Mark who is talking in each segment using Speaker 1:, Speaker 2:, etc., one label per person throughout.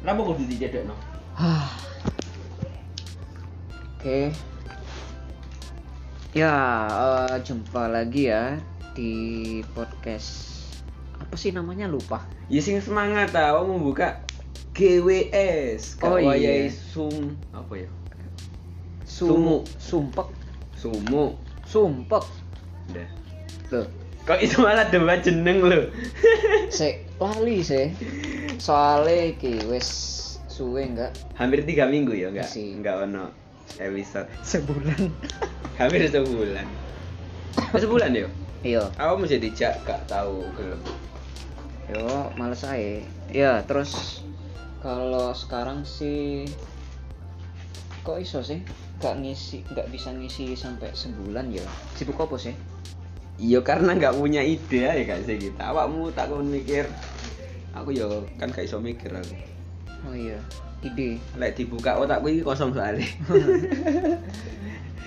Speaker 1: Kenapa kudu dicedekno?
Speaker 2: Hah. Oke. Ya, eh, jumpa lagi ya di podcast apa sih namanya lupa.
Speaker 1: Ya sing semangat ta, wong membuka GWS.
Speaker 2: Oh,
Speaker 1: Kak
Speaker 2: iya.
Speaker 1: Wayai sum apa ya?
Speaker 2: Sumu, sumpek,
Speaker 1: Sumu.
Speaker 2: sumpek.
Speaker 1: Dah.
Speaker 2: Loh,
Speaker 1: Kok iso malah debat jeneng lho.
Speaker 2: sik lali sih. Soale iki wis suwe enggak?
Speaker 1: Hampir tiga minggu ya enggak?
Speaker 2: Masih.
Speaker 1: Enggak ono episode.
Speaker 2: Sebulan.
Speaker 1: Hampir sebulan. sebulan ya?
Speaker 2: Iya.
Speaker 1: Aku mesti dijak gak tahu gelem.
Speaker 2: Yo, males aja. Ya, terus kalau sekarang sih kok iso sih? Gak ngisi, gak bisa ngisi sampai sebulan ya. Sibuk apa sih?
Speaker 1: Iya karena nggak punya ide ya kayak sih kita. Awakmu tak kon mikir. Aku ya kan gak iso mikir aku.
Speaker 2: Oh iya, ide.
Speaker 1: Lek dibuka otakku iki kosong soalnya.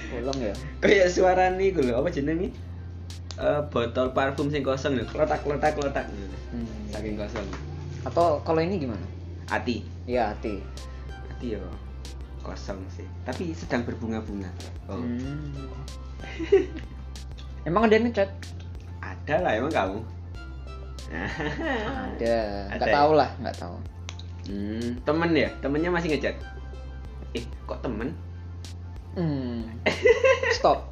Speaker 2: Bolong ya.
Speaker 1: Kayak suara nih lho, apa jenenge? Eh botol parfum sing kosong lho, klotak klotak klotak.
Speaker 2: Hmm.
Speaker 1: Saking kosong.
Speaker 2: Atau kalau ini gimana?
Speaker 1: Ati.
Speaker 2: Ya, hati.
Speaker 1: Ati ya kosong sih. Tapi sedang berbunga-bunga. Oh.
Speaker 2: Hmm. Emang ada yang ngechat?
Speaker 1: Ada lah emang kamu.
Speaker 2: Ada.
Speaker 1: Ada
Speaker 2: Gak
Speaker 1: ya?
Speaker 2: tau lah, gak tau.
Speaker 1: hmm, temen ya? Temennya masih ngechat? Eh, kok temen?
Speaker 2: Hmm. Stop.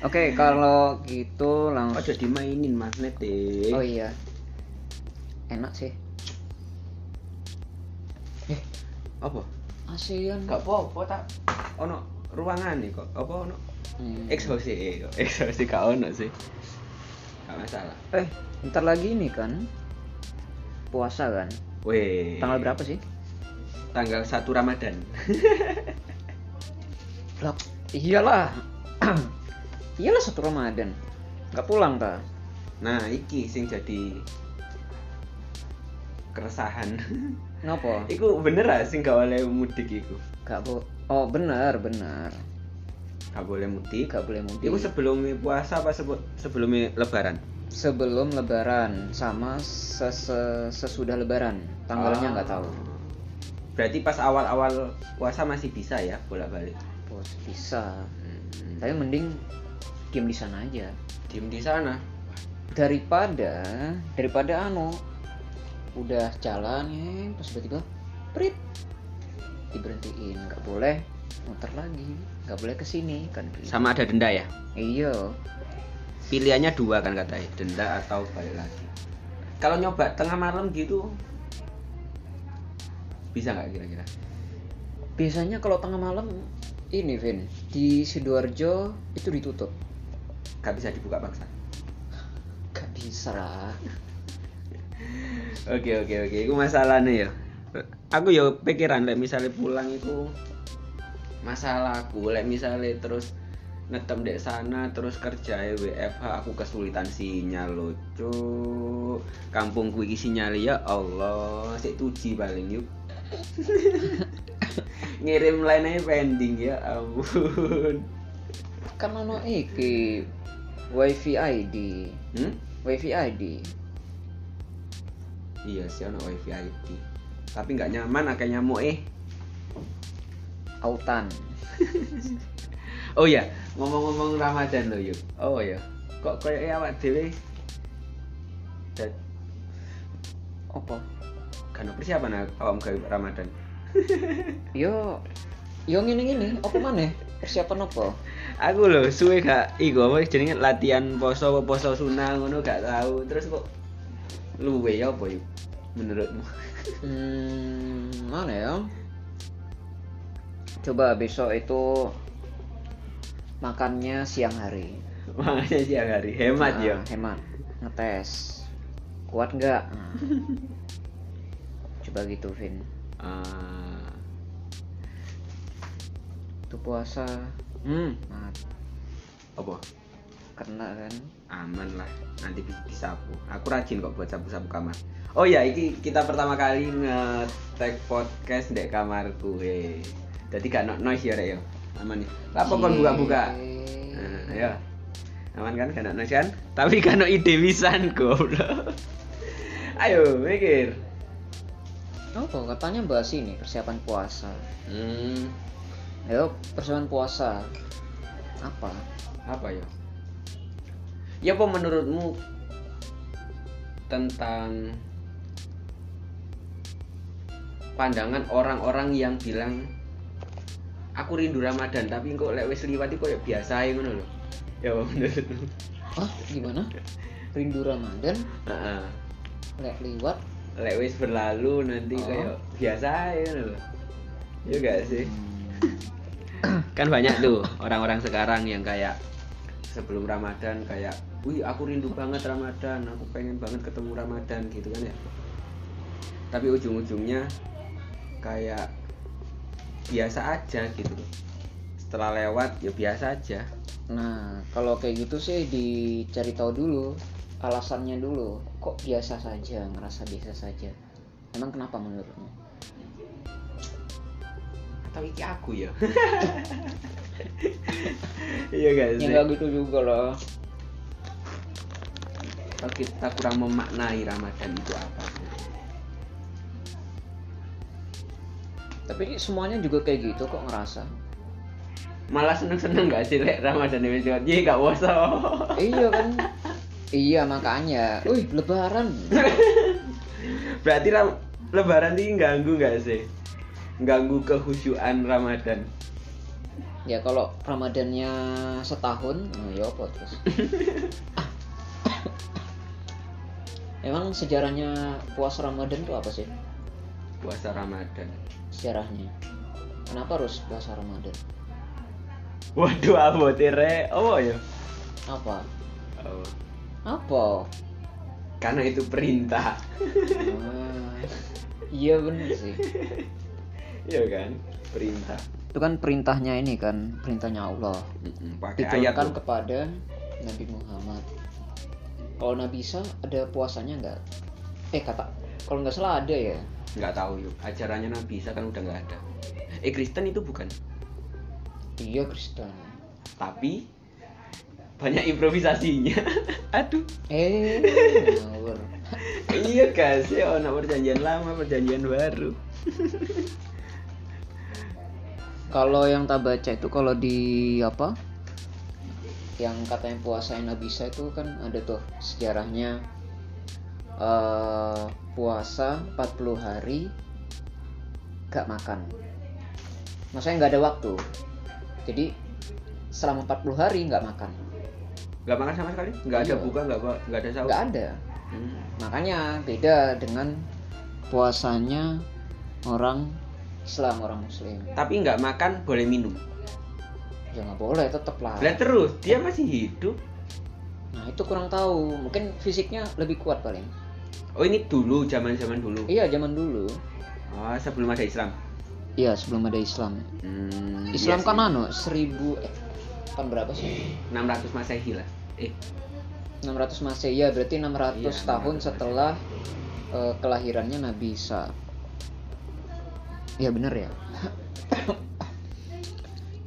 Speaker 2: Oke, kalau gitu langsung.
Speaker 1: Ojo dimainin magnet deh.
Speaker 2: Oh iya. Enak sih.
Speaker 1: Apa?
Speaker 2: Hmm. ASEAN.
Speaker 1: Gak apa-apa tak. Ono ruangan nih kok. Apa ono?
Speaker 2: Hmm.
Speaker 1: Exhausti, eh, kok. exhausti gak ono sih. Gak masalah.
Speaker 2: Eh, ntar lagi nih kan. Puasa kan.
Speaker 1: Weh.
Speaker 2: Tanggal berapa sih?
Speaker 1: Tanggal 1 Ramadan.
Speaker 2: Lah, iyalah. iyalah satu Ramadan. Gak pulang kah?
Speaker 1: Nah, iki sing jadi keresahan.
Speaker 2: Ngapa?
Speaker 1: iku bener ah sing gak boleh mudik iku.
Speaker 2: Gak bo Oh, benar, benar.
Speaker 1: Gak boleh mudik.
Speaker 2: Gak boleh mudik.
Speaker 1: Iku sebelumnya puasa apa sebe- sebelumnya lebaran?
Speaker 2: sebelum lebaran sama sese- sesudah lebaran.
Speaker 1: Ah.
Speaker 2: Tanggalnya nggak tahu.
Speaker 1: Berarti pas awal-awal puasa masih bisa ya bolak-balik.
Speaker 2: Bos, bisa.
Speaker 1: Hmm.
Speaker 2: Tapi mending diam di sana aja.
Speaker 1: Diem di sana.
Speaker 2: Hmm. daripada daripada anu udah jalan ya terus tiba-tiba prit diberhentiin nggak boleh muter lagi nggak boleh kesini kan gitu.
Speaker 1: Sama ada denda ya?
Speaker 2: iya
Speaker 1: pilihannya dua kan katanya denda atau balik lagi kalau nyoba tengah malam gitu bisa nggak kira-kira
Speaker 2: biasanya kalau tengah malam ini Vin di sidoarjo itu ditutup
Speaker 1: nggak bisa dibuka paksa
Speaker 2: gak bisa lah
Speaker 1: oke oke oke itu masalahnya ya aku ya pikiran lek misalnya pulang itu masalah aku lek misalnya terus ngetem dek sana terus kerja e WFH aku kesulitan sinyal loh cuk kampungku iki sinyal ya Allah sik tuji paling yuk ngirim lainnya pending ya ampun
Speaker 2: kan anu iki wifi ID
Speaker 1: hmm?
Speaker 2: wifi ID
Speaker 1: iya sih ono wifi IT tapi nggak nyaman akhirnya mau eh
Speaker 2: autan
Speaker 1: Oh ya, ngomong-ngomong Ramadan lo yuk. Oh ya, kok kayak awak dhewe dan
Speaker 2: apa
Speaker 1: kan persiapan awam gawe Ramadan.
Speaker 2: yo yo ngene ngene apa mana persiapan apa
Speaker 1: Aku lho suwe gak iku apa jenenge latihan poso apa poso sunah ngono gak tahu. Terus kok luwe ya apa yuk menurutmu?
Speaker 2: Hmm, mana ya? Coba besok itu makannya siang hari.
Speaker 1: Makanya siang hari hemat
Speaker 2: Ah,
Speaker 1: ya.
Speaker 2: Hemat. Ngetes. Kuat nggak? Nah. Coba gitu, Vin.
Speaker 1: Ah,
Speaker 2: Itu puasa. Hmm, mat.
Speaker 1: apa?
Speaker 2: Kena kan?
Speaker 1: aman lah nanti bisa disapu aku rajin kok buat sapu-sapu kamar oh ya iki kita pertama kali nge-tag podcast di kamarku eh jadi gak no noise ya rek yo aman ya apa kon buka-buka nah,
Speaker 2: Cie.
Speaker 1: ya aman kan gak no noise kan tapi gak no ide wisan goblok ayo mikir
Speaker 2: Oh, katanya bahas ini persiapan puasa.
Speaker 1: Hmm,
Speaker 2: Ayo, persiapan puasa. Apa?
Speaker 1: apa ya? Ya apa menurutmu tentang pandangan orang-orang yang bilang aku rindu Ramadan tapi kok lek wis liwat iku koyo biasa ae ngono lho. Ya apa menurutmu?
Speaker 2: Hah, gimana? Rindu Ramadan
Speaker 1: Heeh.
Speaker 2: lek liwat.
Speaker 1: Lek wis berlalu nanti
Speaker 2: Oh.
Speaker 1: kayak biasa ae ngono lho. Iya gak sih?
Speaker 2: Hmm.
Speaker 1: kan banyak tuh orang-orang sekarang yang kayak sebelum Ramadan kayak wih aku rindu banget Ramadan aku pengen banget ketemu Ramadan gitu kan ya tapi ujung-ujungnya kayak biasa aja gitu loh. setelah lewat ya biasa aja
Speaker 2: Nah, kalau kayak gitu sih dicari tahu dulu alasannya dulu. Kok biasa saja, ngerasa biasa saja. Emang kenapa menurutmu?
Speaker 1: atau iki aku ya iya guys
Speaker 2: Ya nggak gitu juga loh.
Speaker 1: atau kita kurang memaknai Ramadan itu apa
Speaker 2: Tapi semuanya juga kayak gitu kok ngerasa.
Speaker 1: malah seneng-seneng gak sih lek Ramadan ini lewat iya gak bosan
Speaker 2: iya kan. Iya makanya. Wih, lebaran.
Speaker 1: Berarti ram- lebaran ini ganggu nggak sih? Ganggu kehusyuan Ramadan.
Speaker 2: Ya kalau Ramadannya setahun, nah ya apa terus? Emang sejarahnya puasa Ramadan itu apa sih?
Speaker 1: Puasa Ramadan.
Speaker 2: Sejarahnya. Kenapa harus puasa Ramadan?
Speaker 1: Waduh, abote re. Oh ya.
Speaker 2: Apa?
Speaker 1: Oh.
Speaker 2: Apa?
Speaker 1: Karena itu perintah.
Speaker 2: Ah, iya bener sih.
Speaker 1: Iya kan? Perintah.
Speaker 2: Itu kan perintahnya ini kan, perintahnya Allah.
Speaker 1: Mm-mm, Pakai ayat
Speaker 2: Diturunkan
Speaker 1: tuh.
Speaker 2: kepada Nabi Muhammad. Kalau Nabi Isa ada puasanya nggak? Eh kata, kalau nggak salah ada ya.
Speaker 1: nggak tahu yuk. Ajarannya Nabi Isa kan udah nggak ada. Eh Kristen itu bukan.
Speaker 2: Iya Kristen.
Speaker 1: Tapi banyak improvisasinya. Aduh.
Speaker 2: Eh, ngawur.
Speaker 1: iya gak sih ono perjanjian lama, perjanjian baru.
Speaker 2: Kalau yang tak baca itu kalau di apa? Yang katanya puasa yang Nabi Isa itu kan ada tuh sejarahnya eh puasa 40 hari gak makan. Maksudnya nggak ada waktu. Jadi selama 40 hari nggak makan.
Speaker 1: Nggak makan sama sekali? Nggak ada
Speaker 2: Iya.
Speaker 1: buka, nggak ba- nggak ada sahur.
Speaker 2: Nggak ada.
Speaker 1: Hmm.
Speaker 2: Makanya beda dengan puasanya orang Islam, orang Muslim.
Speaker 1: tapi nggak makan boleh minum
Speaker 2: Ya nggak boleh tetep lah.
Speaker 1: lah terus dia masih hidup
Speaker 2: Nah itu kurang tahu, mungkin fisiknya lebih kuat paling.
Speaker 1: oh ini dulu zaman zaman dulu
Speaker 2: Iya zaman dulu.
Speaker 1: oh, sebelum ada Islam
Speaker 2: Iya sebelum ada Islam.
Speaker 1: Hmm,
Speaker 2: Islam
Speaker 1: iya
Speaker 2: kan anu seribu eh kan berapa sih?
Speaker 1: sih. 600 masehi lah eh
Speaker 2: 600 masehi ya berarti 600
Speaker 1: Iya,
Speaker 2: tahun
Speaker 1: 600
Speaker 2: setelah eh, kelahirannya Nabi Isa. Iya bener ya.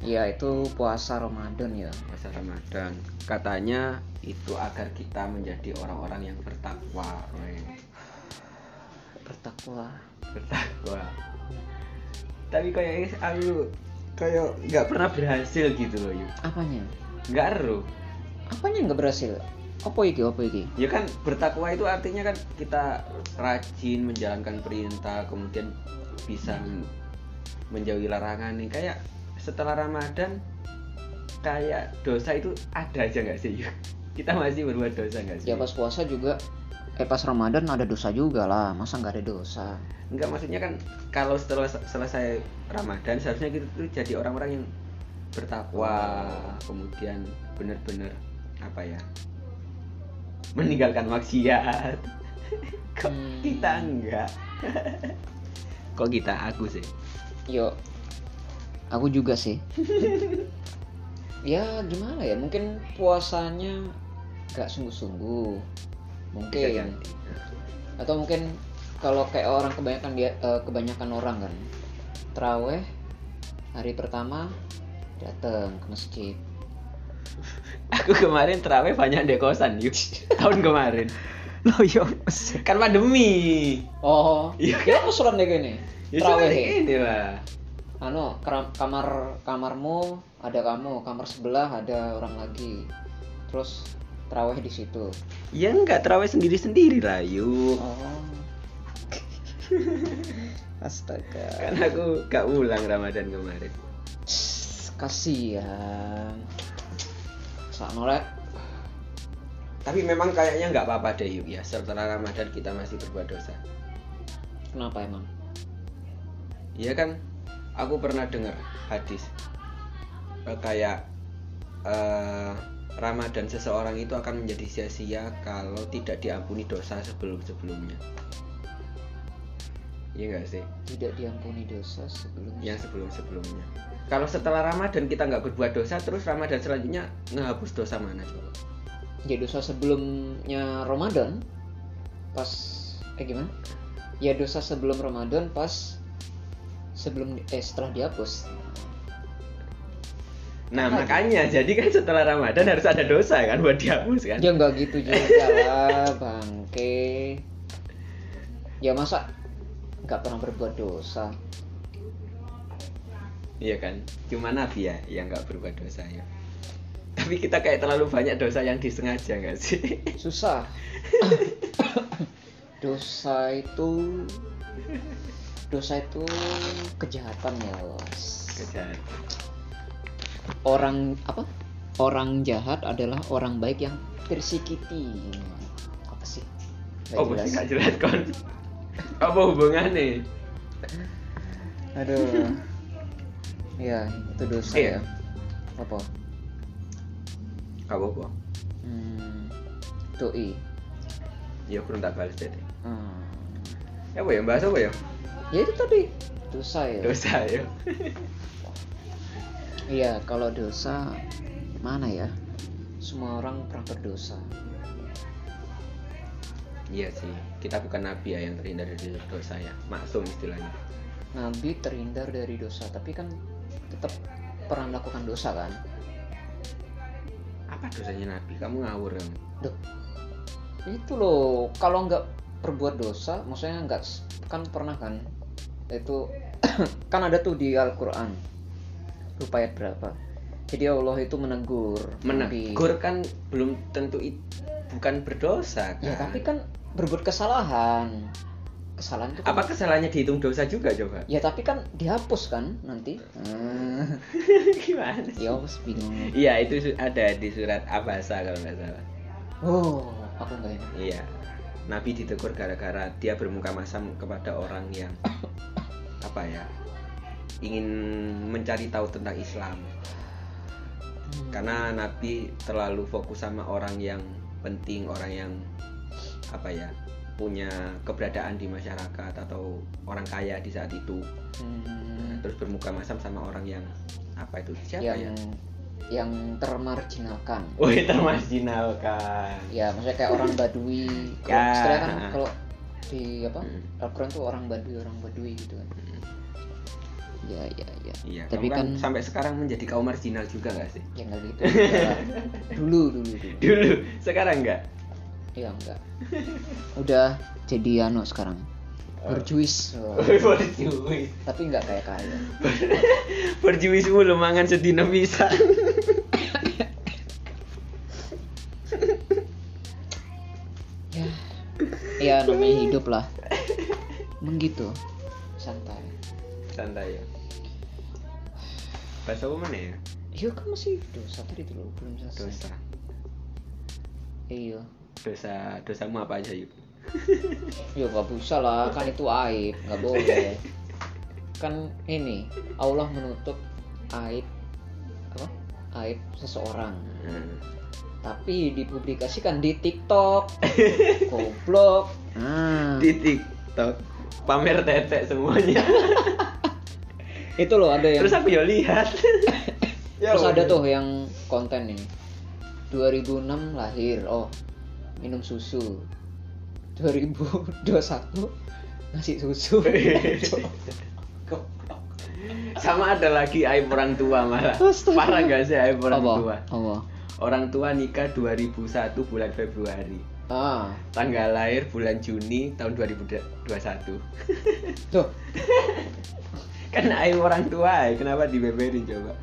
Speaker 2: Iya itu puasa Ramadan ya.
Speaker 1: masa Ramadan katanya itu agar kita menjadi orang-orang yang bertakwa weh.
Speaker 2: Bertakwa.
Speaker 1: bertakwa tapi kayak aku kayak nggak pernah berhasil gitu loh yuk
Speaker 2: Apanya?
Speaker 1: nggak eruh.
Speaker 2: Apanya nggak berhasil? Apa iki? Apa iki?
Speaker 1: Ya kan bertakwa itu artinya kan kita rajin menjalankan perintah, kemudian bisa m- menjauhi larangan nih. Kayak setelah Ramadan kayak dosa itu ada aja nggak sih? Yuk? Kita masih berbuat dosa nggak sih?
Speaker 2: Ya pas puasa juga eh pas Ramadan ada dosa juga lah. Masa nggak ada dosa?
Speaker 1: Enggak maksudnya kan kalau setelah selesai Ramadan seharusnya kita tuh jadi orang-orang yang bertakwa, kemudian benar-benar apa ya? meninggalkan maksiat. Kok
Speaker 2: Hmm.
Speaker 1: kita enggak? Kok kita aku sih?
Speaker 2: Yo. Aku juga sih. ya gimana ya? Mungkin puasanya nggak sungguh-sungguh.
Speaker 1: Bisa
Speaker 2: Mungkin
Speaker 1: ganti.
Speaker 2: atau mungkin kalau kayak orang kebanyakan dia eh, kebanyakan orang kan. Traweh hari pertama datang ke masjid.
Speaker 1: Aku kemarin terawih banyak di kosan yuk. Tahun kemarin.
Speaker 2: Loh iya, yo.
Speaker 1: kan pandemi
Speaker 2: Oh.
Speaker 1: Iya
Speaker 2: Iya aku suran deh ini.
Speaker 1: ya cuma
Speaker 2: Terawih.
Speaker 1: ini lah
Speaker 2: Anu, kram- kamar kamarmu ada kamu, kamar sebelah ada orang lagi. Terus terawih di situ.
Speaker 1: ya nggak terawih sendiri sendiri lah yuk
Speaker 2: Oh. Astaga.
Speaker 1: kan aku gak ulang Ramadan kemarin
Speaker 2: Kasihan. Sakno lek.
Speaker 1: tapi memang kayaknya nggak apa-apa deh yuk ya setelah Ramadan kita masih berbuat dosa
Speaker 2: Kenapa emang?
Speaker 1: Iya kan, aku pernah dengar hadis Eh, kayak eh, Ramadan seseorang itu akan menjadi sia-sia kalau tidak diampuni dosa sebelum-sebelumnya. Iya nggak sih?
Speaker 2: Tidak diampuni dosa sebelum
Speaker 1: Yang sebelum-sebelumnya. Kalau setelah Ramadan kita nggak berbuat dosa, terus Ramadan selanjutnya ngehapus dosa mana coba?
Speaker 2: ya dosa sebelumnya Ramadan pas eh gimana ya dosa sebelum Ramadan pas sebelum eh setelah dihapus
Speaker 1: Nah
Speaker 2: Lagi.
Speaker 1: makanya jadi kan setelah Ramadan harus ada dosa kan buat dihapus kan?
Speaker 2: ya nggak gitu juga lah bangke ya masa nggak pernah berbuat dosa
Speaker 1: Iya kan? Cuma Nabi ya yang nggak berbuat dosa ya. Tapi kita kayak terlalu banyak dosa yang disengaja nggak sih?
Speaker 2: susah dosa itu dosa itu kejahatan ya Los.
Speaker 1: Kejar.
Speaker 2: orang apa orang jahat adalah orang baik yang tersikiti apa sih Nggak
Speaker 1: Oh,
Speaker 2: jelas.
Speaker 1: mesti nggak jelas kon. Apa hubungannya?
Speaker 2: aduh ya itu dosa
Speaker 1: Iya.
Speaker 2: ya apa
Speaker 1: Gak apa-apa.
Speaker 2: hmm, doi
Speaker 1: Ya kurang tak balas deh.
Speaker 2: Hmm.
Speaker 1: Ya apa ya bahas apa ya?
Speaker 2: ya itu tadi dosa ya
Speaker 1: Dosa ya.
Speaker 2: iya kalau dosa mana ya semua orang pernah berdosa
Speaker 1: Iya sih. Kita bukan Nabi ya yang terhindar dari dosa ya. Maksum istilahnya.
Speaker 2: nabi terhindar dari dosa tapi kan tetap pernah melakukan dosa kan
Speaker 1: Apa dosanya Nabi? Kamu ngawur kamu.
Speaker 2: Duh. Itu loh, kalau nggak berbuat dosa, maksudnya nggak s- kan pernah kan? Itu kan ada tuh di Al-Qur'an. Lupa ayat berapa. Jadi Allah itu menegur. Nabi.
Speaker 1: Menegur kan belum tentu it- bukan berdosa kan?
Speaker 2: Ya, tapi kan berbuat kesalahan. Kesalahan itu kan-
Speaker 1: apa kesalahannya dihitung dosa juga coba?
Speaker 2: Ya, tapi kan dihapus kan nanti. Hmm.
Speaker 1: Gimana?
Speaker 2: ya, aku bingung.
Speaker 1: Iya itu su- ada di surat Abasa kalau nggak salah.
Speaker 2: Oh, aku nggak enak.
Speaker 1: Iya. Nabi ditegur gara-gara dia bermuka masam kepada orang yang apa ya ingin mencari tahu tentang Islam
Speaker 2: Hmm.
Speaker 1: karena Nabi terlalu fokus sama orang yang penting orang yang apa ya punya keberadaan di masyarakat atau orang kaya di saat itu
Speaker 2: Hmm.
Speaker 1: Nah, terus bermuka masam sama orang yang apa itu siapa
Speaker 2: yang
Speaker 1: ya?
Speaker 2: yang termarginalkan.
Speaker 1: Wih termarginalkan.
Speaker 2: ya maksudnya kayak orang badui kalau
Speaker 1: Ya.
Speaker 2: istilahnya kan kalau di apa
Speaker 1: Hmm.
Speaker 2: Al-Quran tuh orang badui orang badui gitu kan ya ya ya
Speaker 1: Iya,
Speaker 2: tapi
Speaker 1: kamu kan,
Speaker 2: kan,
Speaker 1: sampai sekarang menjadi kaum marginal juga nggak sih?
Speaker 2: ya nggak gitu juga lah. dulu dulu dulu
Speaker 1: Dulu, sekarang nggak?
Speaker 2: ya enggak udah jadi anu sekarang berjuis oh.
Speaker 1: Berjuis,
Speaker 2: tapi nggak kayak kaya
Speaker 1: berjuis mulu mangan sedina bisa.
Speaker 2: ya ya namanya hidup lah emang gitu santai
Speaker 1: Santai ya. Bahasa apa mana ya?
Speaker 2: Iya kan masih dosa tadi dulu belum selesai.
Speaker 1: Dosa.
Speaker 2: Iya.
Speaker 1: Dosa, dosamu apa aja yuk?
Speaker 2: Ya nggak bisa lah, kan itu aib, nggak boleh. Kan ini Allah menutup aib apa? Aib seseorang.
Speaker 1: Hmm.
Speaker 2: Tapi dipublikasikan di TikTok. Goblok. Hmm.
Speaker 1: Di TikTok pamer tetek semuanya.
Speaker 2: Itu loh ada yang
Speaker 1: Terus aku ya lihat.
Speaker 2: Iya.
Speaker 1: Ya,
Speaker 2: terus ada
Speaker 1: Allah.
Speaker 2: tuh yang konten ini. 2006 lahir. Oh, minum susu. 2021 ngasih susu.
Speaker 1: Iya,
Speaker 2: Goblok.
Speaker 1: Sama ada lagi aib orang tua malah.
Speaker 2: Astaga.
Speaker 1: Parah gak sih aib orang
Speaker 2: Apa?
Speaker 1: tua?
Speaker 2: Apa?
Speaker 1: Orang tua nikah 2001 bulan Februari.
Speaker 2: ah
Speaker 1: tanggal lahir bulan Juni tahun 2021
Speaker 2: tuh
Speaker 1: kan aing orang tua ay. kenapa dibeberin coba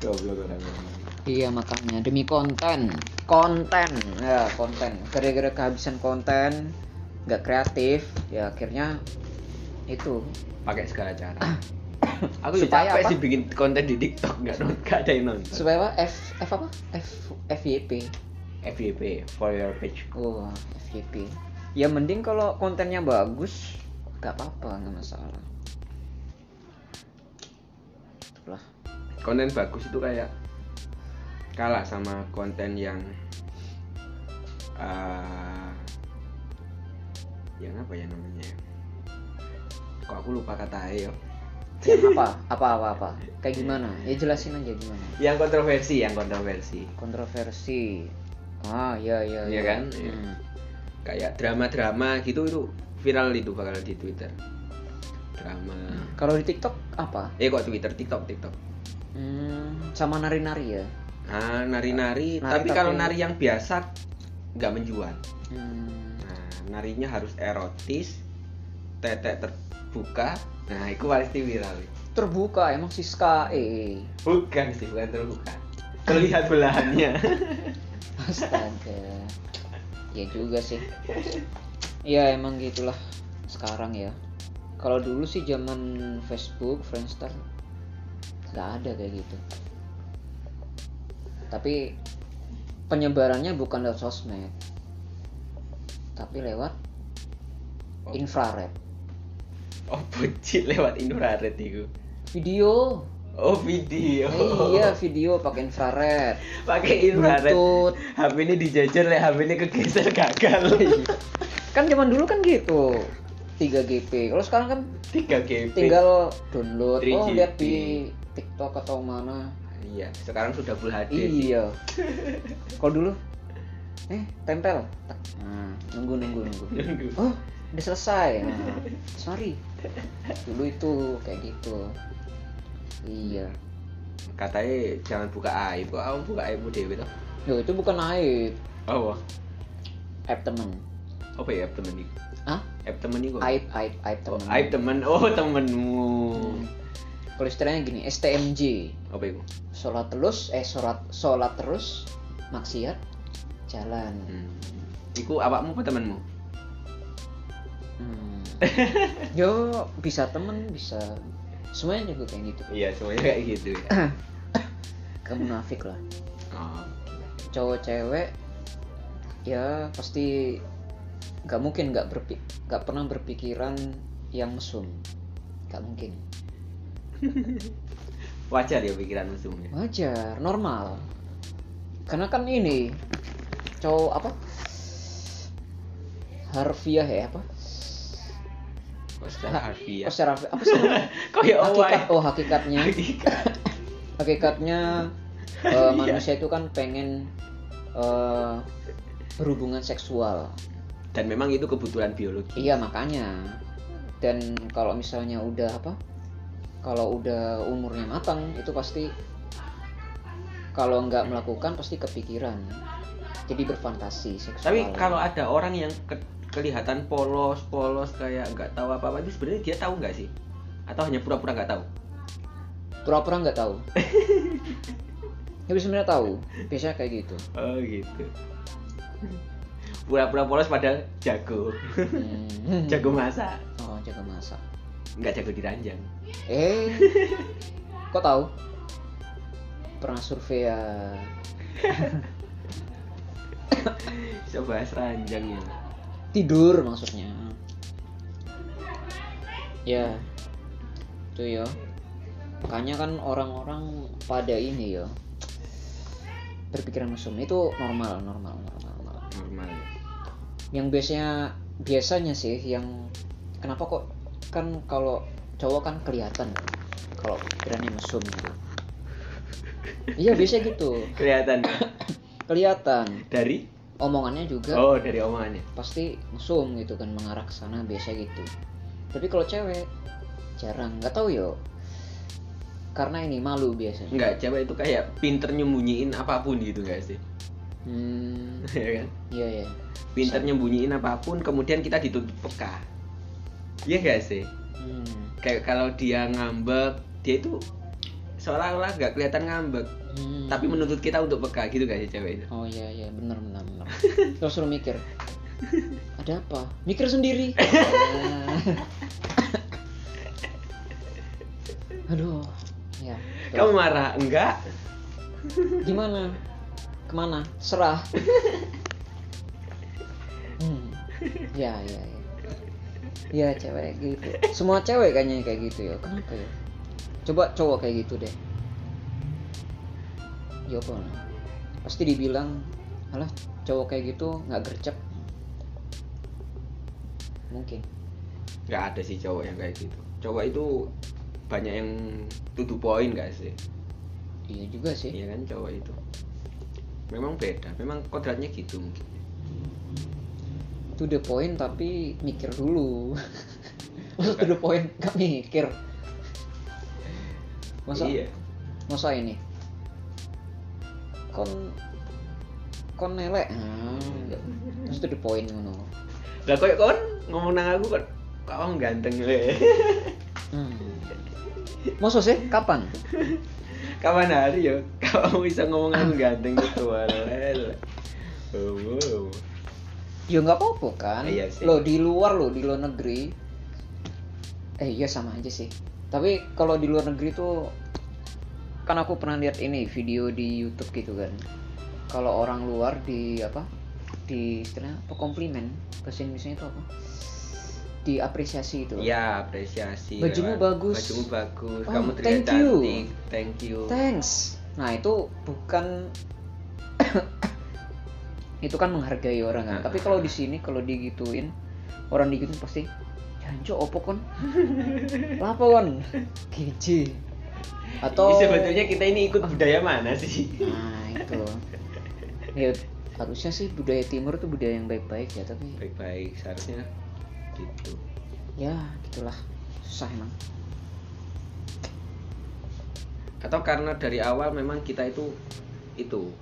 Speaker 1: goblok orang orang
Speaker 2: iya makanya demi konten konten ya konten gara-gara kehabisan konten nggak kreatif ya akhirnya itu
Speaker 1: pakai segala cara aku juga
Speaker 2: Supaya
Speaker 1: capek
Speaker 2: apa?
Speaker 1: sih bikin konten di TikTok nggak non nggak ada yang nonton
Speaker 2: supaya apa? F F apa F FYP
Speaker 1: FYP for your page
Speaker 2: oh FYP ya mending kalau kontennya bagus nggak apa-apa nggak masalah itulah
Speaker 1: konten bagus itu kayak kalah sama konten yang eh, yang apa ya namanya ya? kok aku lupa kata ayo
Speaker 2: yang Ya, apa apa apa apa kayak gimana ya jelasin aja gimana
Speaker 1: yang kontroversi yang kontroversi
Speaker 2: kontroversi ah ya ya
Speaker 1: Iya kan? Iya.
Speaker 2: Hmm.
Speaker 1: kayak drama-drama gitu itu viral itu bakal di Twitter drama
Speaker 2: kalau di TikTok apa
Speaker 1: eh kok Twitter TikTok TikTok
Speaker 2: hmm, sama nari-nari ya
Speaker 1: ah nari-nari
Speaker 2: Nari
Speaker 1: tapi,
Speaker 2: tapi-
Speaker 1: kalau nari yang biasa nggak menjual
Speaker 2: hmm.
Speaker 1: nah narinya harus erotis tetek terbuka nah itu pasti viral
Speaker 2: terbuka emang Siska eh eh.
Speaker 1: bukan sih bukan terbuka terlihat belahannya
Speaker 2: astaga ya juga sih ya emang gitulah sekarang ya kalau dulu sih zaman Facebook Friendster nggak ada kayak gitu tapi penyebarannya bukan lewat sosmed tapi lewat infrared
Speaker 1: oh bucit lewat infrared itu
Speaker 2: video
Speaker 1: oh video
Speaker 2: iya video pakai infrared
Speaker 1: pakai infrared
Speaker 2: Bluetooth
Speaker 1: HP ini dijajar lek HP ini kegeser gagal
Speaker 2: kan zaman dulu kan gitu 3GP kalau sekarang kan
Speaker 1: 3 GB
Speaker 2: tinggal download oh
Speaker 1: 3GP.
Speaker 2: lihat di TikTok atau mana
Speaker 1: Iya, sekarang sudah full HD.
Speaker 2: iya kalau dulu eh tempel Tek. nah, nunggu nunggu nunggu
Speaker 1: Nunggu.
Speaker 2: oh udah selesai nah, sorry dulu itu kayak gitu iya
Speaker 1: Katanya jangan buka aib, kok kamu buka aibmu dewe toh.
Speaker 2: Loh, itu bukan aib
Speaker 1: Oh, wah.
Speaker 2: aib temen
Speaker 1: apa ya aib temen iku?
Speaker 2: ah
Speaker 1: Aib temen iku. apa?
Speaker 2: aib aib aib
Speaker 1: Oh,
Speaker 2: temen
Speaker 1: aib temen. Oh, temenmu.
Speaker 2: kalau istilahnya gini STMJ
Speaker 1: Apa itu?
Speaker 2: sholat terus eh sholat sholat terus maksiat jalan
Speaker 1: Hmm. Iku awakmu apa temenmu?
Speaker 2: Hmm. yo bisa temen bisa semuanya juga kayak gitu
Speaker 1: Iya, semuanya kayak gitu ya.
Speaker 2: kamu munafik lah
Speaker 1: Oh.
Speaker 2: cowok cewek ya pasti nggak mungkin nggak berpi nggak pernah berpikiran yang mesum nggak mungkin
Speaker 1: Wajar ya pikiran musuhnya.
Speaker 2: wajar normal karena kan ini cowok apa harfiah ya apa
Speaker 1: Kok secara harfiah.
Speaker 2: Oh, secara apa sih
Speaker 1: Kok ya
Speaker 2: hakikat
Speaker 1: awak.
Speaker 2: oh hakikatnya hakikatnya eh,
Speaker 1: Iya.
Speaker 2: manusia itu kan pengen eh, berhubungan seksual
Speaker 1: Dan memang itu kebutuhan biologi.
Speaker 2: iya makanya dan kalau misalnya udah apa kalau udah umurnya matang itu pasti kalau nggak melakukan pasti kepikiran jadi berfantasi seksual
Speaker 1: Tapi kalau ada orang yang ke- kelihatan polos-polos kayak nggak tahu apa-apa itu sebenarnya dia tahu nggak sih? Atau hanya pura-pura nggak tahu?
Speaker 2: pura-pura nggak tahu tapi sebenarnya tahu biasanya kayak gitu
Speaker 1: Oh gitu. Pura-pura polos padahal jago.
Speaker 2: Hmm.
Speaker 1: Jago masak,
Speaker 2: oh jago masak
Speaker 1: nggak jago diranjang.
Speaker 2: Eh, kok tahu? Pernah survei ya.
Speaker 1: Bisa bahas ranjang ya.
Speaker 2: Tidur maksudnya. Ya, itu ya. Makanya kan orang-orang pada ini ya berpikiran mesum itu normal, normal, normal, normal.
Speaker 1: Normal. ya.
Speaker 2: Yang biasanya biasanya sih yang kenapa kok kan kalau cowok kan kelihatan kalau pikirannya mesum gitu. Iya biasanya gitu.
Speaker 1: Kelihatan ya?
Speaker 2: kelihatan
Speaker 1: dari
Speaker 2: omongannya juga
Speaker 1: oh dari omongannya.
Speaker 2: pasti mesum gitu kan mengarah ke sana biasa gitu tapi kalau cewek jarang nggak tahu yo karena ini malu biasanya
Speaker 1: Nggak, cewek itu kayak pinter nyembunyiin apapun gitu nggak sih?
Speaker 2: Hmm.
Speaker 1: ya kan
Speaker 2: Iya ya.
Speaker 1: pinter nyembunyiin apapun kemudian kita dituntut peka iya gak sih
Speaker 2: Hmm.
Speaker 1: kayak kalau dia ngambek dia itu seolah-olah gak kelihatan ngambek
Speaker 2: Hmm.
Speaker 1: tapi menuntut kita untuk peka gitu gak sih cewek itu
Speaker 2: Oh iya iya benar benar benar. Terus suruh mikir. Ada apa? Mikir sendiri. Aduh. Ya.
Speaker 1: kamu marah enggak
Speaker 2: Gimana? Kemana? Serah. Hmm. Ya ya ya. Ya cewek gitu. Semua cewek kayaknya kayak gitu ya. Kenapa ya? Coba cowok kayak gitu deh. Jawab lah. Pasti dibilang, alah cowok kayak gitu nggak gercep. Mungkin.
Speaker 1: nggak ada sih cowok yang kayak gitu cowok itu banyak yang tuduh poin gak sih
Speaker 2: Iya juga sih.
Speaker 1: iya kan cowok itu memang beda memang kodratnya gitu mungkin
Speaker 2: To the point tapi mikir dulu. Masa to the point gak mikir. Masa
Speaker 1: iya
Speaker 2: masa ini kon kon nelek hmm. terus itu the point ngono
Speaker 1: lah kok kon ngomong nang aku kan kamu ganteng le
Speaker 2: hmm. masa sih kapan
Speaker 1: kapan hari ya kamu bisa ngomong aku ganteng gitu walele oh, wow.
Speaker 2: ya nggak apa-apa kan
Speaker 1: Iya sih.
Speaker 2: lo di luar lo di luar negeri eh iya sama aja sih tapi kalau di luar negeri tuh kan aku pernah lihat ini video di YouTube gitu kan kalau orang luar di apa di istilahnya apa komplimen bahasa Indonesia itu apa diapresiasi itu
Speaker 1: Iya, apresiasi.
Speaker 2: Bajumu
Speaker 1: lewat-
Speaker 2: bagus.
Speaker 1: Bajumu bagus.
Speaker 2: Oh,
Speaker 1: Kamu
Speaker 2: thank
Speaker 1: terlihat
Speaker 2: you.
Speaker 1: cantik. Thank you.
Speaker 2: Thanks. Nah itu bukan itu kan menghargai orang
Speaker 1: Nah,
Speaker 2: kan. Tapi kalau di sini kalau digituin orang digituin pasti janjo opo kon. Lapa kon? Giji. Atau
Speaker 1: Ini sebetulnya kita ini ikut budaya mana sih?
Speaker 2: Nah, itu. Ya harusnya sih budaya timur tuh budaya yang baik-baik ya, tapi
Speaker 1: Baik-baik seharusnya gitu.
Speaker 2: ya gitulah. Susah emang.
Speaker 1: Atau karena dari awal memang kita itu itu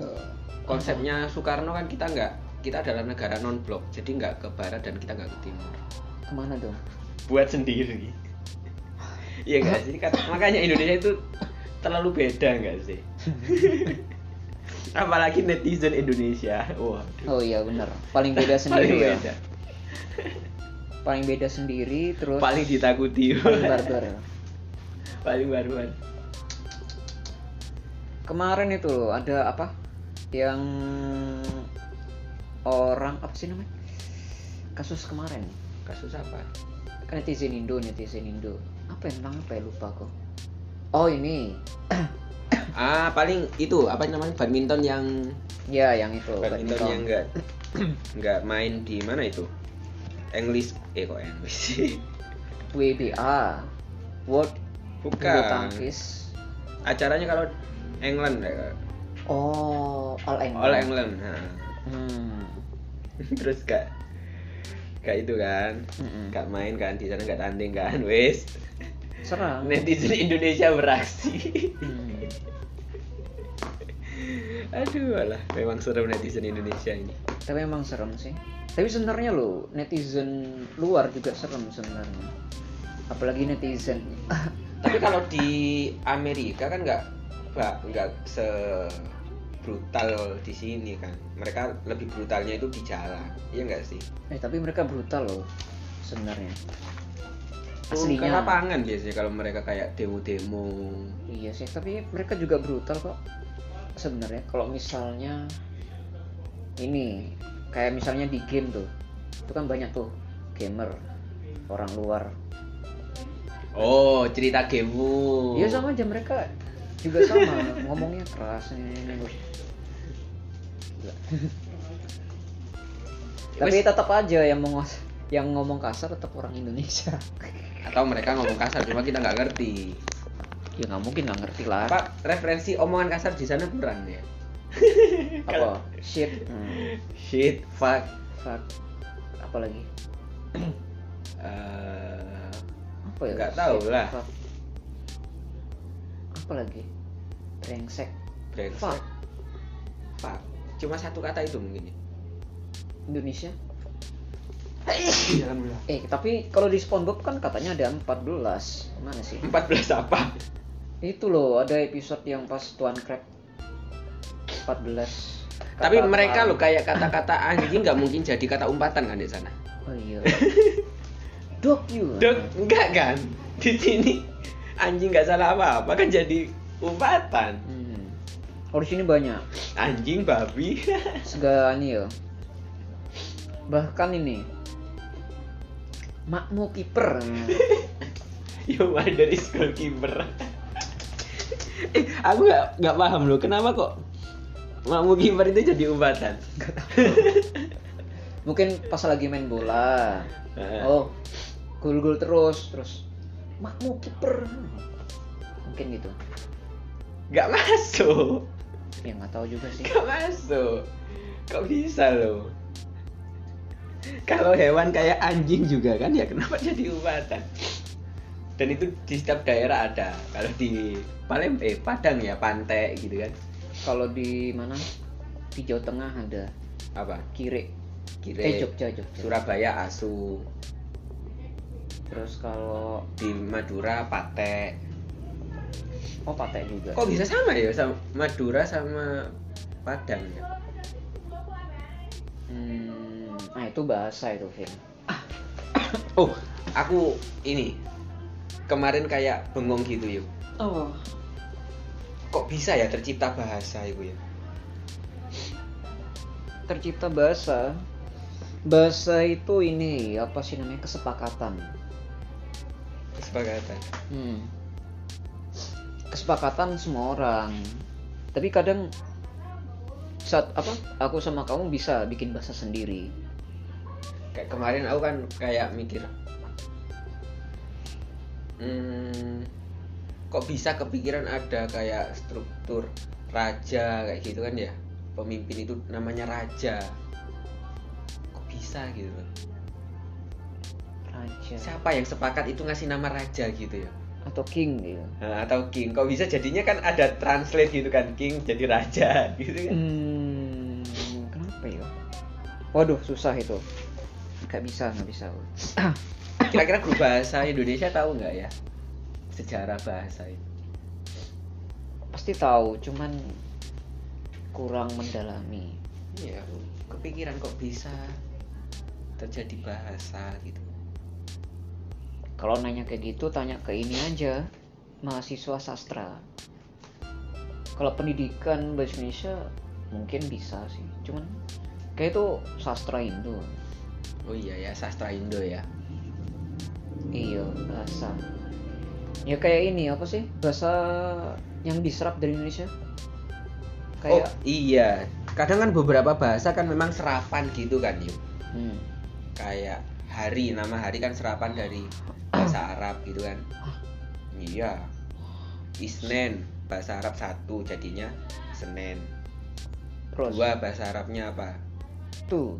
Speaker 1: Eh, konsepnya Soekarno kan kita nggak kita adalah negara non blok jadi nggak ke barat dan kita nggak ke timur
Speaker 2: Kemana dong?
Speaker 1: buat sendiri iya nggak sih Kan- makanya Indonesia itu terlalu beda nggak sih apalagi netizen Indonesia wah
Speaker 2: Oh iya benar. Paling beda sendiri
Speaker 1: paling
Speaker 2: ya.
Speaker 1: beda.
Speaker 2: Paling beda sendiri terus
Speaker 1: paling ditakuti
Speaker 2: paling barbar. ya.
Speaker 1: paling baruan
Speaker 2: kemarin itu loh ada apa yang orang apa sih namanya kasus kemarin
Speaker 1: kasus apa
Speaker 2: kan netizen Indo netizen Indo apa yang tentang apa ya lupa kok oh ini
Speaker 1: ah paling itu apa namanya badminton yang
Speaker 2: ya yang itu
Speaker 1: badminton,
Speaker 2: badminton.
Speaker 1: yang enggak enggak main di mana itu English eh kok English
Speaker 2: WBA World Bulu
Speaker 1: bukan
Speaker 2: Tangkis
Speaker 1: acaranya kalau England ya
Speaker 2: oh All England
Speaker 1: All England nah.
Speaker 2: Hmm.
Speaker 1: terus gak gak itu kan
Speaker 2: Mm-mm.
Speaker 1: gak main kan di sana gak tanding kan wes
Speaker 2: serang
Speaker 1: netizen Indonesia beraksi
Speaker 2: Hmm.
Speaker 1: aduh alah memang serem netizen Indonesia ini
Speaker 2: tapi emang serem sih tapi sebenarnya lo netizen luar juga serem sebenarnya apalagi netizen
Speaker 1: tapi kalau di Amerika kan nggak nggak nggak se brutal di sini kan mereka lebih brutalnya itu di jalan iya nggak sih
Speaker 2: Eh tapi mereka brutal loh sebenarnya.
Speaker 1: Turun ke
Speaker 2: Aslinya.
Speaker 1: lapangan biasanya kalau mereka kayak demo-demo
Speaker 2: Iya sih, tapi mereka juga brutal kok sebenarnya. Kalau misalnya ini kayak misalnya di game tuh, itu kan banyak tuh gamer orang luar.
Speaker 1: oh cerita gamemu
Speaker 2: Iya sama aja mereka juga sama ngomongnya keras ini, ini, ini. Gila. tapi
Speaker 1: Wes.
Speaker 2: tetap aja yang mau ngos- yang ngomong kasar tetap orang Indonesia.
Speaker 1: atau mereka ngomong kasar cuma kita nggak ngerti
Speaker 2: ya nggak mungkin nggak ngerti lah.
Speaker 1: apa referensi omongan kasar di sana beneran ya
Speaker 2: apa shit hmm,
Speaker 1: shit fuck
Speaker 2: fuck apa lagi
Speaker 1: eh,
Speaker 2: apa ya
Speaker 1: Nggak tahu
Speaker 2: Shit,
Speaker 1: lah.
Speaker 2: fuck. apa lagi brengsek
Speaker 1: brengsek
Speaker 2: fuck
Speaker 1: apa cuma satu kata itu mungkin ya
Speaker 2: Indonesia
Speaker 1: alhamdulillah
Speaker 2: eh tapi kalau di SpongeBob kan katanya ada 14 mana sih
Speaker 1: 14 apa
Speaker 2: itu loh ada episode yang pas Tuan Crab 14 kata
Speaker 1: tapi mereka
Speaker 2: terakhir.
Speaker 1: loh kayak kata-kata anjing nggak mungkin jadi kata umpatan kan di sana
Speaker 2: oh iya dog you
Speaker 1: Dok, enggak kan? Di sini anjing nggak salah apa-apa kan jadi umpatan.
Speaker 2: hmm. kalau di sini banyak
Speaker 1: Anjing babi.
Speaker 2: segalanya ya bahkan ini makmu kiper
Speaker 1: Yo dari school keeper. eh, aku nggak nggak paham loh kenapa kok Makmu kiper itu jadi umpatan.
Speaker 2: mungkin pas lagi main bola
Speaker 1: Eh.
Speaker 2: oh gol-gol terus terus makmu kiper mungkin gitu
Speaker 1: Nggak masuk.
Speaker 2: ya nggak tahu juga sih
Speaker 1: Nggak masuk. Kok bisa loh? Kalau hewan kayak anjing juga kan ya kenapa jadi umpatan? Dan itu di setiap daerah ada. Kalau di Palem eh Padang ya pantai gitu kan.
Speaker 2: kalau di mana di Jawa Tengah ada
Speaker 1: Apa?
Speaker 2: kiri
Speaker 1: Kire.
Speaker 2: eh Jogja Jogja
Speaker 1: Surabaya asu.
Speaker 2: terus kalau
Speaker 1: Di Madura patek.
Speaker 2: oh Patek juga
Speaker 1: Kok bisa sama ya sama Madura sama Padang ya?
Speaker 2: hmm, nah itu bahasa itu Vin
Speaker 1: Oh, aku ini kemarin kayak bengong gitu yuk.
Speaker 2: oh
Speaker 1: Kok bisa ya tercipta bahasa itu ya?
Speaker 2: tercipta bahasa bahasa itu ini apa sih namanya kesepakatan
Speaker 1: Kesepakatan.
Speaker 2: hmm. kesepakatan semua orang tapi kadang saat apa aku sama kamu bisa bikin bahasa sendiri
Speaker 1: Kayak kemarin aku kan kayak mikir hmm, kok bisa kepikiran ada kayak struktur raja kayak gitu kan ya pemimpin itu namanya raja kok bisa gitu loh.
Speaker 2: raja
Speaker 1: siapa yang sepakat itu ngasih nama raja gitu ya
Speaker 2: atau king gitu
Speaker 1: Nah, atau king kok bisa jadinya kan ada translate gitu kan king jadi raja gitu kan
Speaker 2: Hmm, kenapa ya? Waduh, susah itu. Gak bisa, gak bisa.
Speaker 1: kira-kira guru bahasa Indonesia tahu nggak ya sejarah bahasa itu
Speaker 2: Pasti tahu, cuman kurang mendalami.
Speaker 1: Iya, aku kepikiran kok bisa terjadi bahasa gitu.
Speaker 2: Kalau nanya kayak gitu, tanya ke ini aja, mahasiswa sastra. Kalau pendidikan bahasa Indonesia mungkin bisa sih, cuman kayak itu sastra Indo.
Speaker 1: Oh iya ya, sastra Indo ya.
Speaker 2: Iya, bahasa. Ya kayak ini apa sih? Bahasa yang diserap dari Indonesia?
Speaker 1: Oh
Speaker 2: Kayak
Speaker 1: iya, kadang kan beberapa bahasa kan memang serapan gitu kan yuk.
Speaker 2: Hmm.
Speaker 1: Kayak hari, nama hari kan serapan dari bahasa Arab gitu kan. Iya. Isnen bahasa Arab satu jadinya Senin.
Speaker 2: Terus
Speaker 1: Dua bahasa Arabnya apa?
Speaker 2: tuh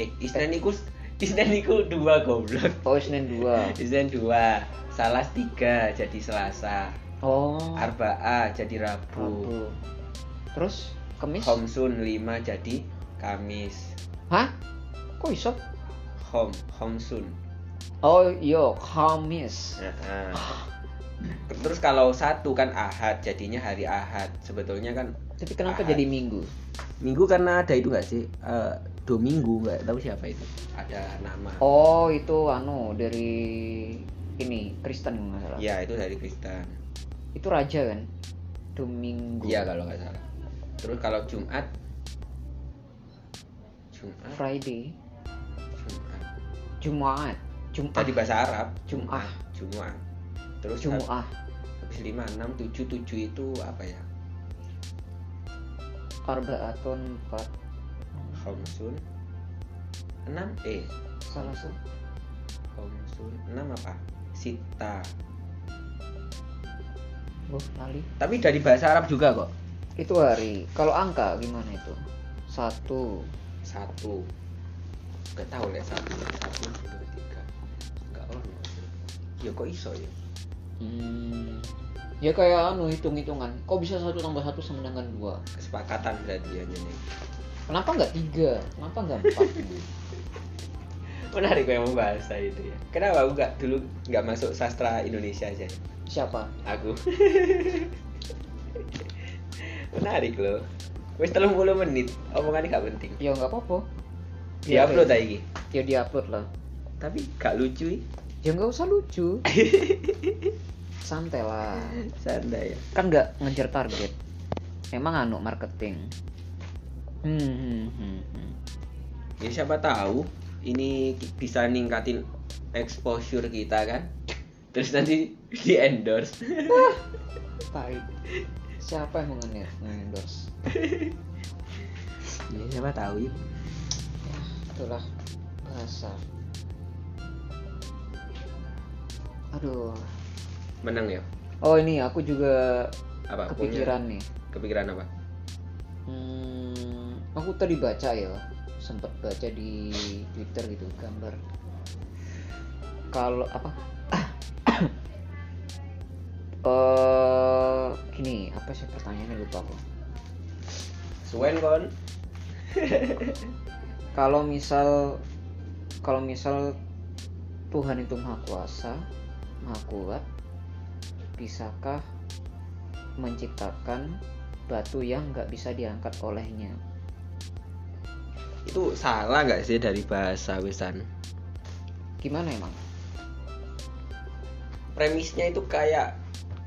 Speaker 1: Eh Isnen iku Isnen iku dua goblok.
Speaker 2: Oh Senin 2
Speaker 1: Isnen dua, Salas tiga jadi Selasa.
Speaker 2: Oh
Speaker 1: Arba'a jadi Rabu,
Speaker 2: Rabu Terus Kemis
Speaker 1: Homsun 5 jadi Kamis,
Speaker 2: Hah? Kok iso?
Speaker 1: Hom Homsun.
Speaker 2: Oh iya Kamis
Speaker 1: Nah, Terus kalau satu kan Ahad jadinya hari Ahad. Sebetulnya kan
Speaker 2: Tapi kenapa
Speaker 1: Ahad.
Speaker 2: jadi Minggu?
Speaker 1: Minggu karena ada itu nggak sih? Eh, Dominggu nggak tahu siapa itu. Ada nama.
Speaker 2: Oh itu anu dari ini Kristen kalau nggak salah
Speaker 1: Iya itu dari Kristen.
Speaker 2: Itu raja kan? Domingo
Speaker 1: Iya kalau nggak salah. Terus kalau Jumat Jumat
Speaker 2: Friday
Speaker 1: Jumat.
Speaker 2: Jumat Jumat
Speaker 1: Tadi bahasa Arab
Speaker 2: Jum'ah.
Speaker 1: Jumat. Terus
Speaker 2: Ah. Jumat
Speaker 1: habis 5 6 7 7 itu apa ya?
Speaker 2: Arba'atun empat
Speaker 1: Homsun 6 eh
Speaker 2: Salah satu
Speaker 1: Homsun 6 apa? Sita.
Speaker 2: Oh lali
Speaker 1: Tapi dari bahasa Arab juga kok.
Speaker 2: Itu hari Kalau angka gimana itu? Satu
Speaker 1: Satu. Gak tahu lihat satu, satu, dua, tiga. Gak ono. sih. Ya kok iso ya?
Speaker 2: Hmm, ya kayak anu hitung hitungan kok bisa satu tambah satu sama dengan dua
Speaker 1: kesepakatan berarti ya nih
Speaker 2: kenapa nggak tiga kenapa nggak empat gitu?
Speaker 1: menarik memang bahasa itu ya kenapa aku nggak dulu nggak masuk sastra Indonesia aja
Speaker 2: siapa
Speaker 1: aku menarik loh wes telung puluh menit omongannya gak penting
Speaker 2: ya nggak apa-apa
Speaker 1: di upload aja iki.
Speaker 2: ya di upload lah
Speaker 1: tapi gak lucu ya
Speaker 2: ya nggak usah lucu santai lah
Speaker 1: santai ya
Speaker 2: kan nggak ngejar target emang anu marketing hmm, hmm, hmm, hmm.
Speaker 1: ya siapa tahu ini ki- bisa ningkatin exposure kita kan terus nanti di endorse
Speaker 2: Tai. siapa yang mengenir endorse
Speaker 1: ya, siapa tahu ya.
Speaker 2: itulah bahasa aduh
Speaker 1: menang ya
Speaker 2: oh ini aku juga
Speaker 1: apa punya-
Speaker 2: kepikiran nih
Speaker 1: kepikiran apa
Speaker 2: Hmm, aku tadi baca ya, sempat baca di Twitter gitu gambar. Kalau apa? Eh, gini, apa sih pertanyaannya lupa aku.
Speaker 1: Suen kon
Speaker 2: Kalau misal kalau misal Tuhan itu Maha Kuasa, Maha Kuat, bisakah menciptakan batu yang nggak bisa diangkat olehnya?
Speaker 1: itu salah nggak sih dari bahasa wesan
Speaker 2: Gimana emang?
Speaker 1: premisnya itu kayak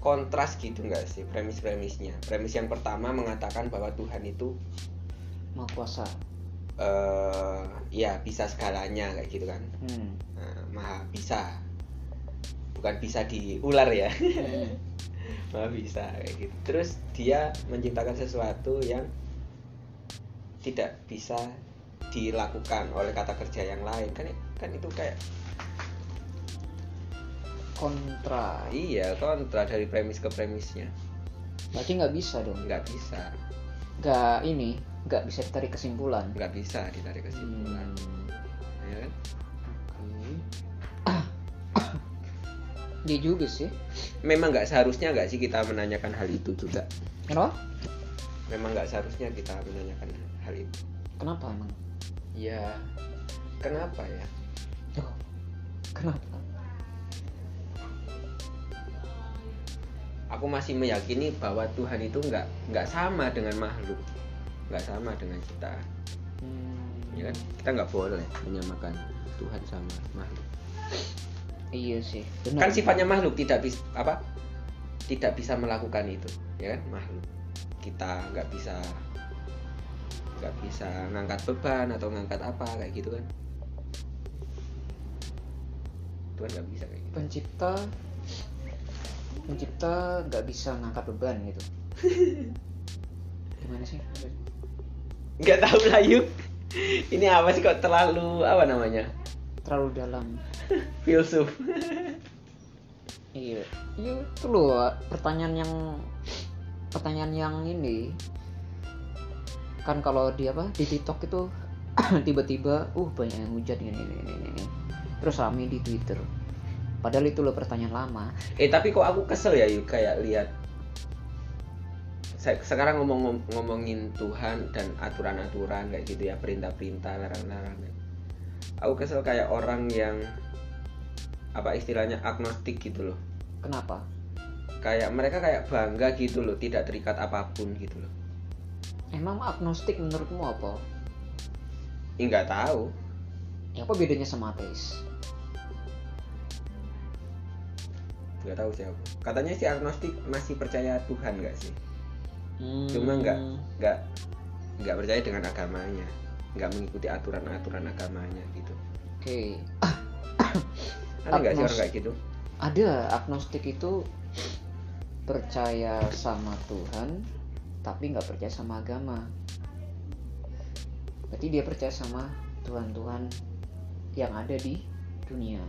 Speaker 1: kontras gitu nggak sih premis-premisnya premis yang pertama mengatakan bahwa Tuhan itu
Speaker 2: Maha Kuasa.
Speaker 1: eh ya bisa segalanya kayak gitu kan
Speaker 2: Hmm.
Speaker 1: Nah, maha bisa bukan bisa diular ya
Speaker 2: Hmm.
Speaker 1: maha bisa kayak gitu terus dia menciptakan sesuatu yang tidak bisa dilakukan oleh kata kerja yang lain kan kan itu kayak
Speaker 2: kontra
Speaker 1: iya kontra dari premis ke premisnya
Speaker 2: berarti nggak bisa dong
Speaker 1: nggak bisa
Speaker 2: nggak ini nggak bisa ditarik kesimpulan Hmm,
Speaker 1: nggak bisa ditarik kesimpulan ya kan?
Speaker 2: dia iya juga sih
Speaker 1: memang nggak seharusnya nggak sih kita menanyakan hal itu juga
Speaker 2: kenapa
Speaker 1: memang nggak seharusnya kita menanyakan hal itu
Speaker 2: kenapa emang
Speaker 1: ya kenapa ya
Speaker 2: Loh, Oh, kenapa
Speaker 1: aku masih meyakini bahwa Tuhan itu nggak nggak sama dengan makhluk nggak sama dengan kita
Speaker 2: Hmm,
Speaker 1: ya kan? kita nggak boleh menyamakan Tuhan sama makhluk
Speaker 2: iya sih
Speaker 1: kan
Speaker 2: benar
Speaker 1: sifatnya makhluk tidak bisa apa tidak bisa melakukan itu ya kan makhluk kita nggak bisa nggak bisa ngangkat beban atau ngangkat apa kayak gitu kan Tuhan nggak bisa kayak gitu
Speaker 2: pencipta pencipta nggak bisa ngangkat beban gitu gimana sih
Speaker 1: nggak tahu lah yuk ini apa sih kok terlalu apa namanya
Speaker 2: terlalu dalam
Speaker 1: filsuf
Speaker 2: Iya, iya itu loh pertanyaan yang pertanyaan yang ini kan kalau di apa di TikTok itu tiba-tiba uh banyak yang hujat ini ini ini ini, ini. terus rame di Twitter padahal itu loh pertanyaan lama
Speaker 1: Eh tapi kok aku kesel ya Yu kayak lihat Se- sekarang ngomong ngomongin Tuhan dan aturan-aturan kayak gitu ya perintah-perintah larang-larang. Aku kesel kayak orang yang apa istilahnya agnostik gitu loh.
Speaker 2: kenapa
Speaker 1: Kayak mereka kayak bangga gitu loh, tidak terikat apapun gitu loh.
Speaker 2: emang agnostik menurutmu apa
Speaker 1: Eh, nggak tahu.
Speaker 2: ya apa bedanya sama ateis
Speaker 1: Nggak tahu sih aku. Katanya si agnostik masih percaya Tuhan nggak sih? Cuma nggak
Speaker 2: Hmm,
Speaker 1: nggak nggak percaya dengan agamanya, nggak mengikuti aturan-aturan agamanya gitu.
Speaker 2: oke
Speaker 1: Ada nggak sih orang
Speaker 2: Agnostik.
Speaker 1: kayak gitu?
Speaker 2: ada agnostik itu percaya sama Tuhan tapi nggak percaya sama agama berarti dia percaya sama Tuhan-Tuhan yang ada di dunia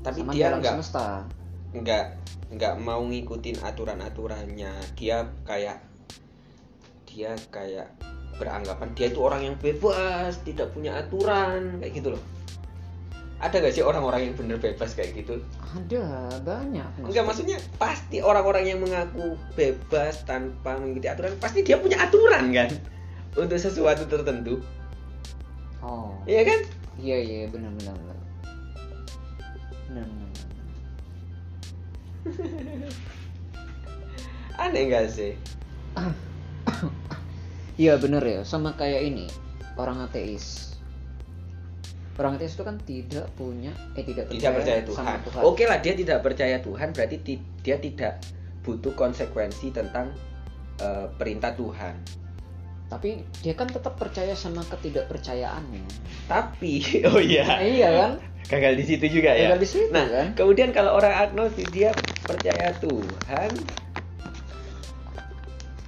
Speaker 1: tapi
Speaker 2: sama
Speaker 1: dia
Speaker 2: alam
Speaker 1: nggak
Speaker 2: semesta
Speaker 1: nggak nggak mau ngikutin aturan aturannya dia kayak dia kayak beranggapan dia itu orang yang bebas tidak punya aturan kayak gitu loh ada gak sih orang-orang yang bener bebas kayak gitu
Speaker 2: ada banyak
Speaker 1: enggak maksudnya pasti orang-orang yang mengaku bebas tanpa mengikuti aturan pasti dia punya aturan kan untuk sesuatu tertentu
Speaker 2: oh
Speaker 1: Iya kan
Speaker 2: iya iya benar benar benar benar benar benar.
Speaker 1: aneh gak sih
Speaker 2: Iya bener ya, sama kayak ini orang ateis. Orang ateis itu kan tidak punya, eh tidak percaya,
Speaker 1: tidak percaya
Speaker 2: sama
Speaker 1: Tuhan. Oh,
Speaker 2: Tuhan.
Speaker 1: Oke lah dia tidak percaya Tuhan berarti ti- dia tidak butuh konsekuensi tentang eh, perintah Tuhan.
Speaker 2: Tapi dia kan tetap percaya sama ketidakpercayaannya.
Speaker 1: Tapi oh
Speaker 2: Nah,
Speaker 1: iya
Speaker 2: iya kan?
Speaker 1: gagal di situ juga ya.
Speaker 2: Ya. Dari situ
Speaker 1: Nah
Speaker 2: kan?
Speaker 1: kemudian kalau orang agnostik dia percaya Tuhan,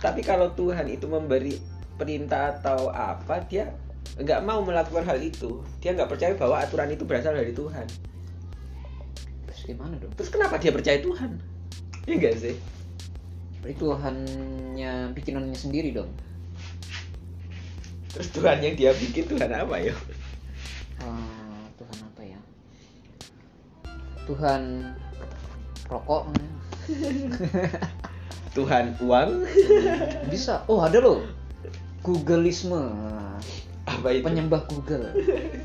Speaker 1: tapi kalau Tuhan itu memberi perintah atau apa dia nggak mau melakukan hal itu. Dia nggak percaya bahwa aturan itu berasal dari Tuhan.
Speaker 2: Terus gimana dong?
Speaker 1: Terus kenapa dia percaya Tuhan? Iya enggak sih?
Speaker 2: Berarti Tuhannya bikinannya sendiri dong.
Speaker 1: Terus Tuhan yang dia bikin Tuhan apa ya?
Speaker 2: Ah, Tuhan apa ya? Tuhan rokok
Speaker 1: Tuhan uang
Speaker 2: bisa. Oh ada loh. Googleisme. Ah,
Speaker 1: apa itu?
Speaker 2: penyembah Google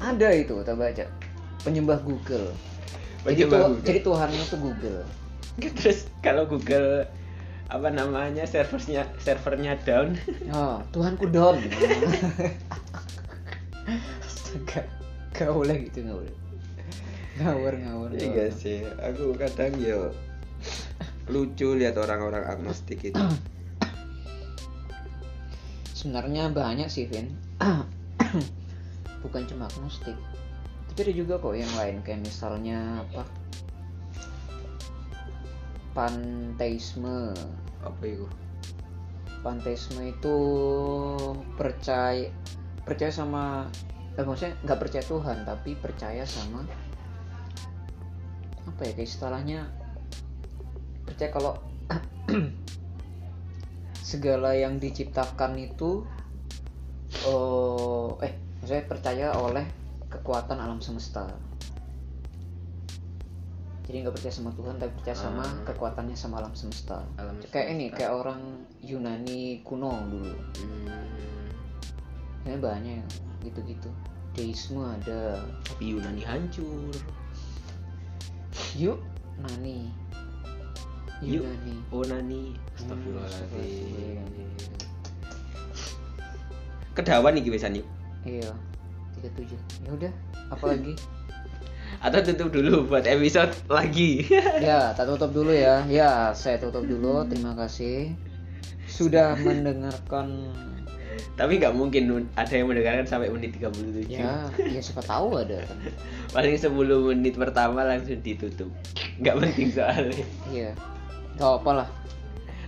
Speaker 2: ada itu kita baca penyembah Google jadi,
Speaker 1: Penyembah
Speaker 2: tu-
Speaker 1: Google.
Speaker 2: jadi Tuhannya tuh Google
Speaker 1: Terus kalau Google apa namanya servernya servernya down
Speaker 2: oh, Tuhanku Don astaga gak boleh gitu gak boleh ngawur ngawur
Speaker 1: Iya
Speaker 2: ngawur.
Speaker 1: enggak sih aku kadang yo lucu lihat orang-orang agnostik itu
Speaker 2: sebenarnya banyak sih Vin bukan cuma agnostik tapi ada juga kok yang lain kayak misalnya apa panteisme
Speaker 1: apa itu
Speaker 2: panteisme itu percaya percaya sama eh, maksudnya nggak percaya Tuhan tapi percaya sama apa ya kayak istilahnya percaya kalau segala yang diciptakan itu oh eh maksudnya percaya oleh kekuatan alam semesta jadi nggak percaya sama Tuhan tapi percaya sama
Speaker 1: Ah.
Speaker 2: kekuatannya sama alam semesta
Speaker 1: Alam
Speaker 2: kayak ini
Speaker 1: semesta.
Speaker 2: kayak orang Yunani kuno dulu
Speaker 1: Hmm,
Speaker 2: ini banyak gitu-gitu deisme ada
Speaker 1: tapi Yunani hancur
Speaker 2: yuk nani
Speaker 1: Yuk.
Speaker 2: Yunani
Speaker 1: Onani
Speaker 2: Astagfirullahaladzim.
Speaker 1: kedawan nih biasanya yuk.
Speaker 2: iya 37 ya udah apa lagi
Speaker 1: atau tutup dulu buat episode lagi
Speaker 2: ya tak tutup dulu ya ya saya tutup dulu terima kasih sudah mendengarkan
Speaker 1: tapi nggak mungkin Nun. ada yang mendengarkan sampai menit 37 Iya.
Speaker 2: ya ya siapa tahu ada kan
Speaker 1: paling 10 menit pertama langsung ditutup nggak penting soalnya
Speaker 2: iya gak apa lah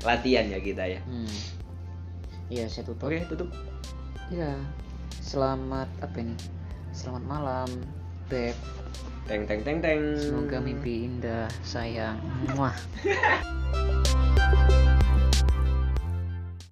Speaker 1: latihan ya kita ya
Speaker 2: hmm. ya saya tutup
Speaker 1: oke tutup
Speaker 2: Iya. Selamat apa ini? Selamat malam, Beb.
Speaker 1: teng teng Hmm. teng teng
Speaker 2: Semoga mimpi indah, sayang. Muah.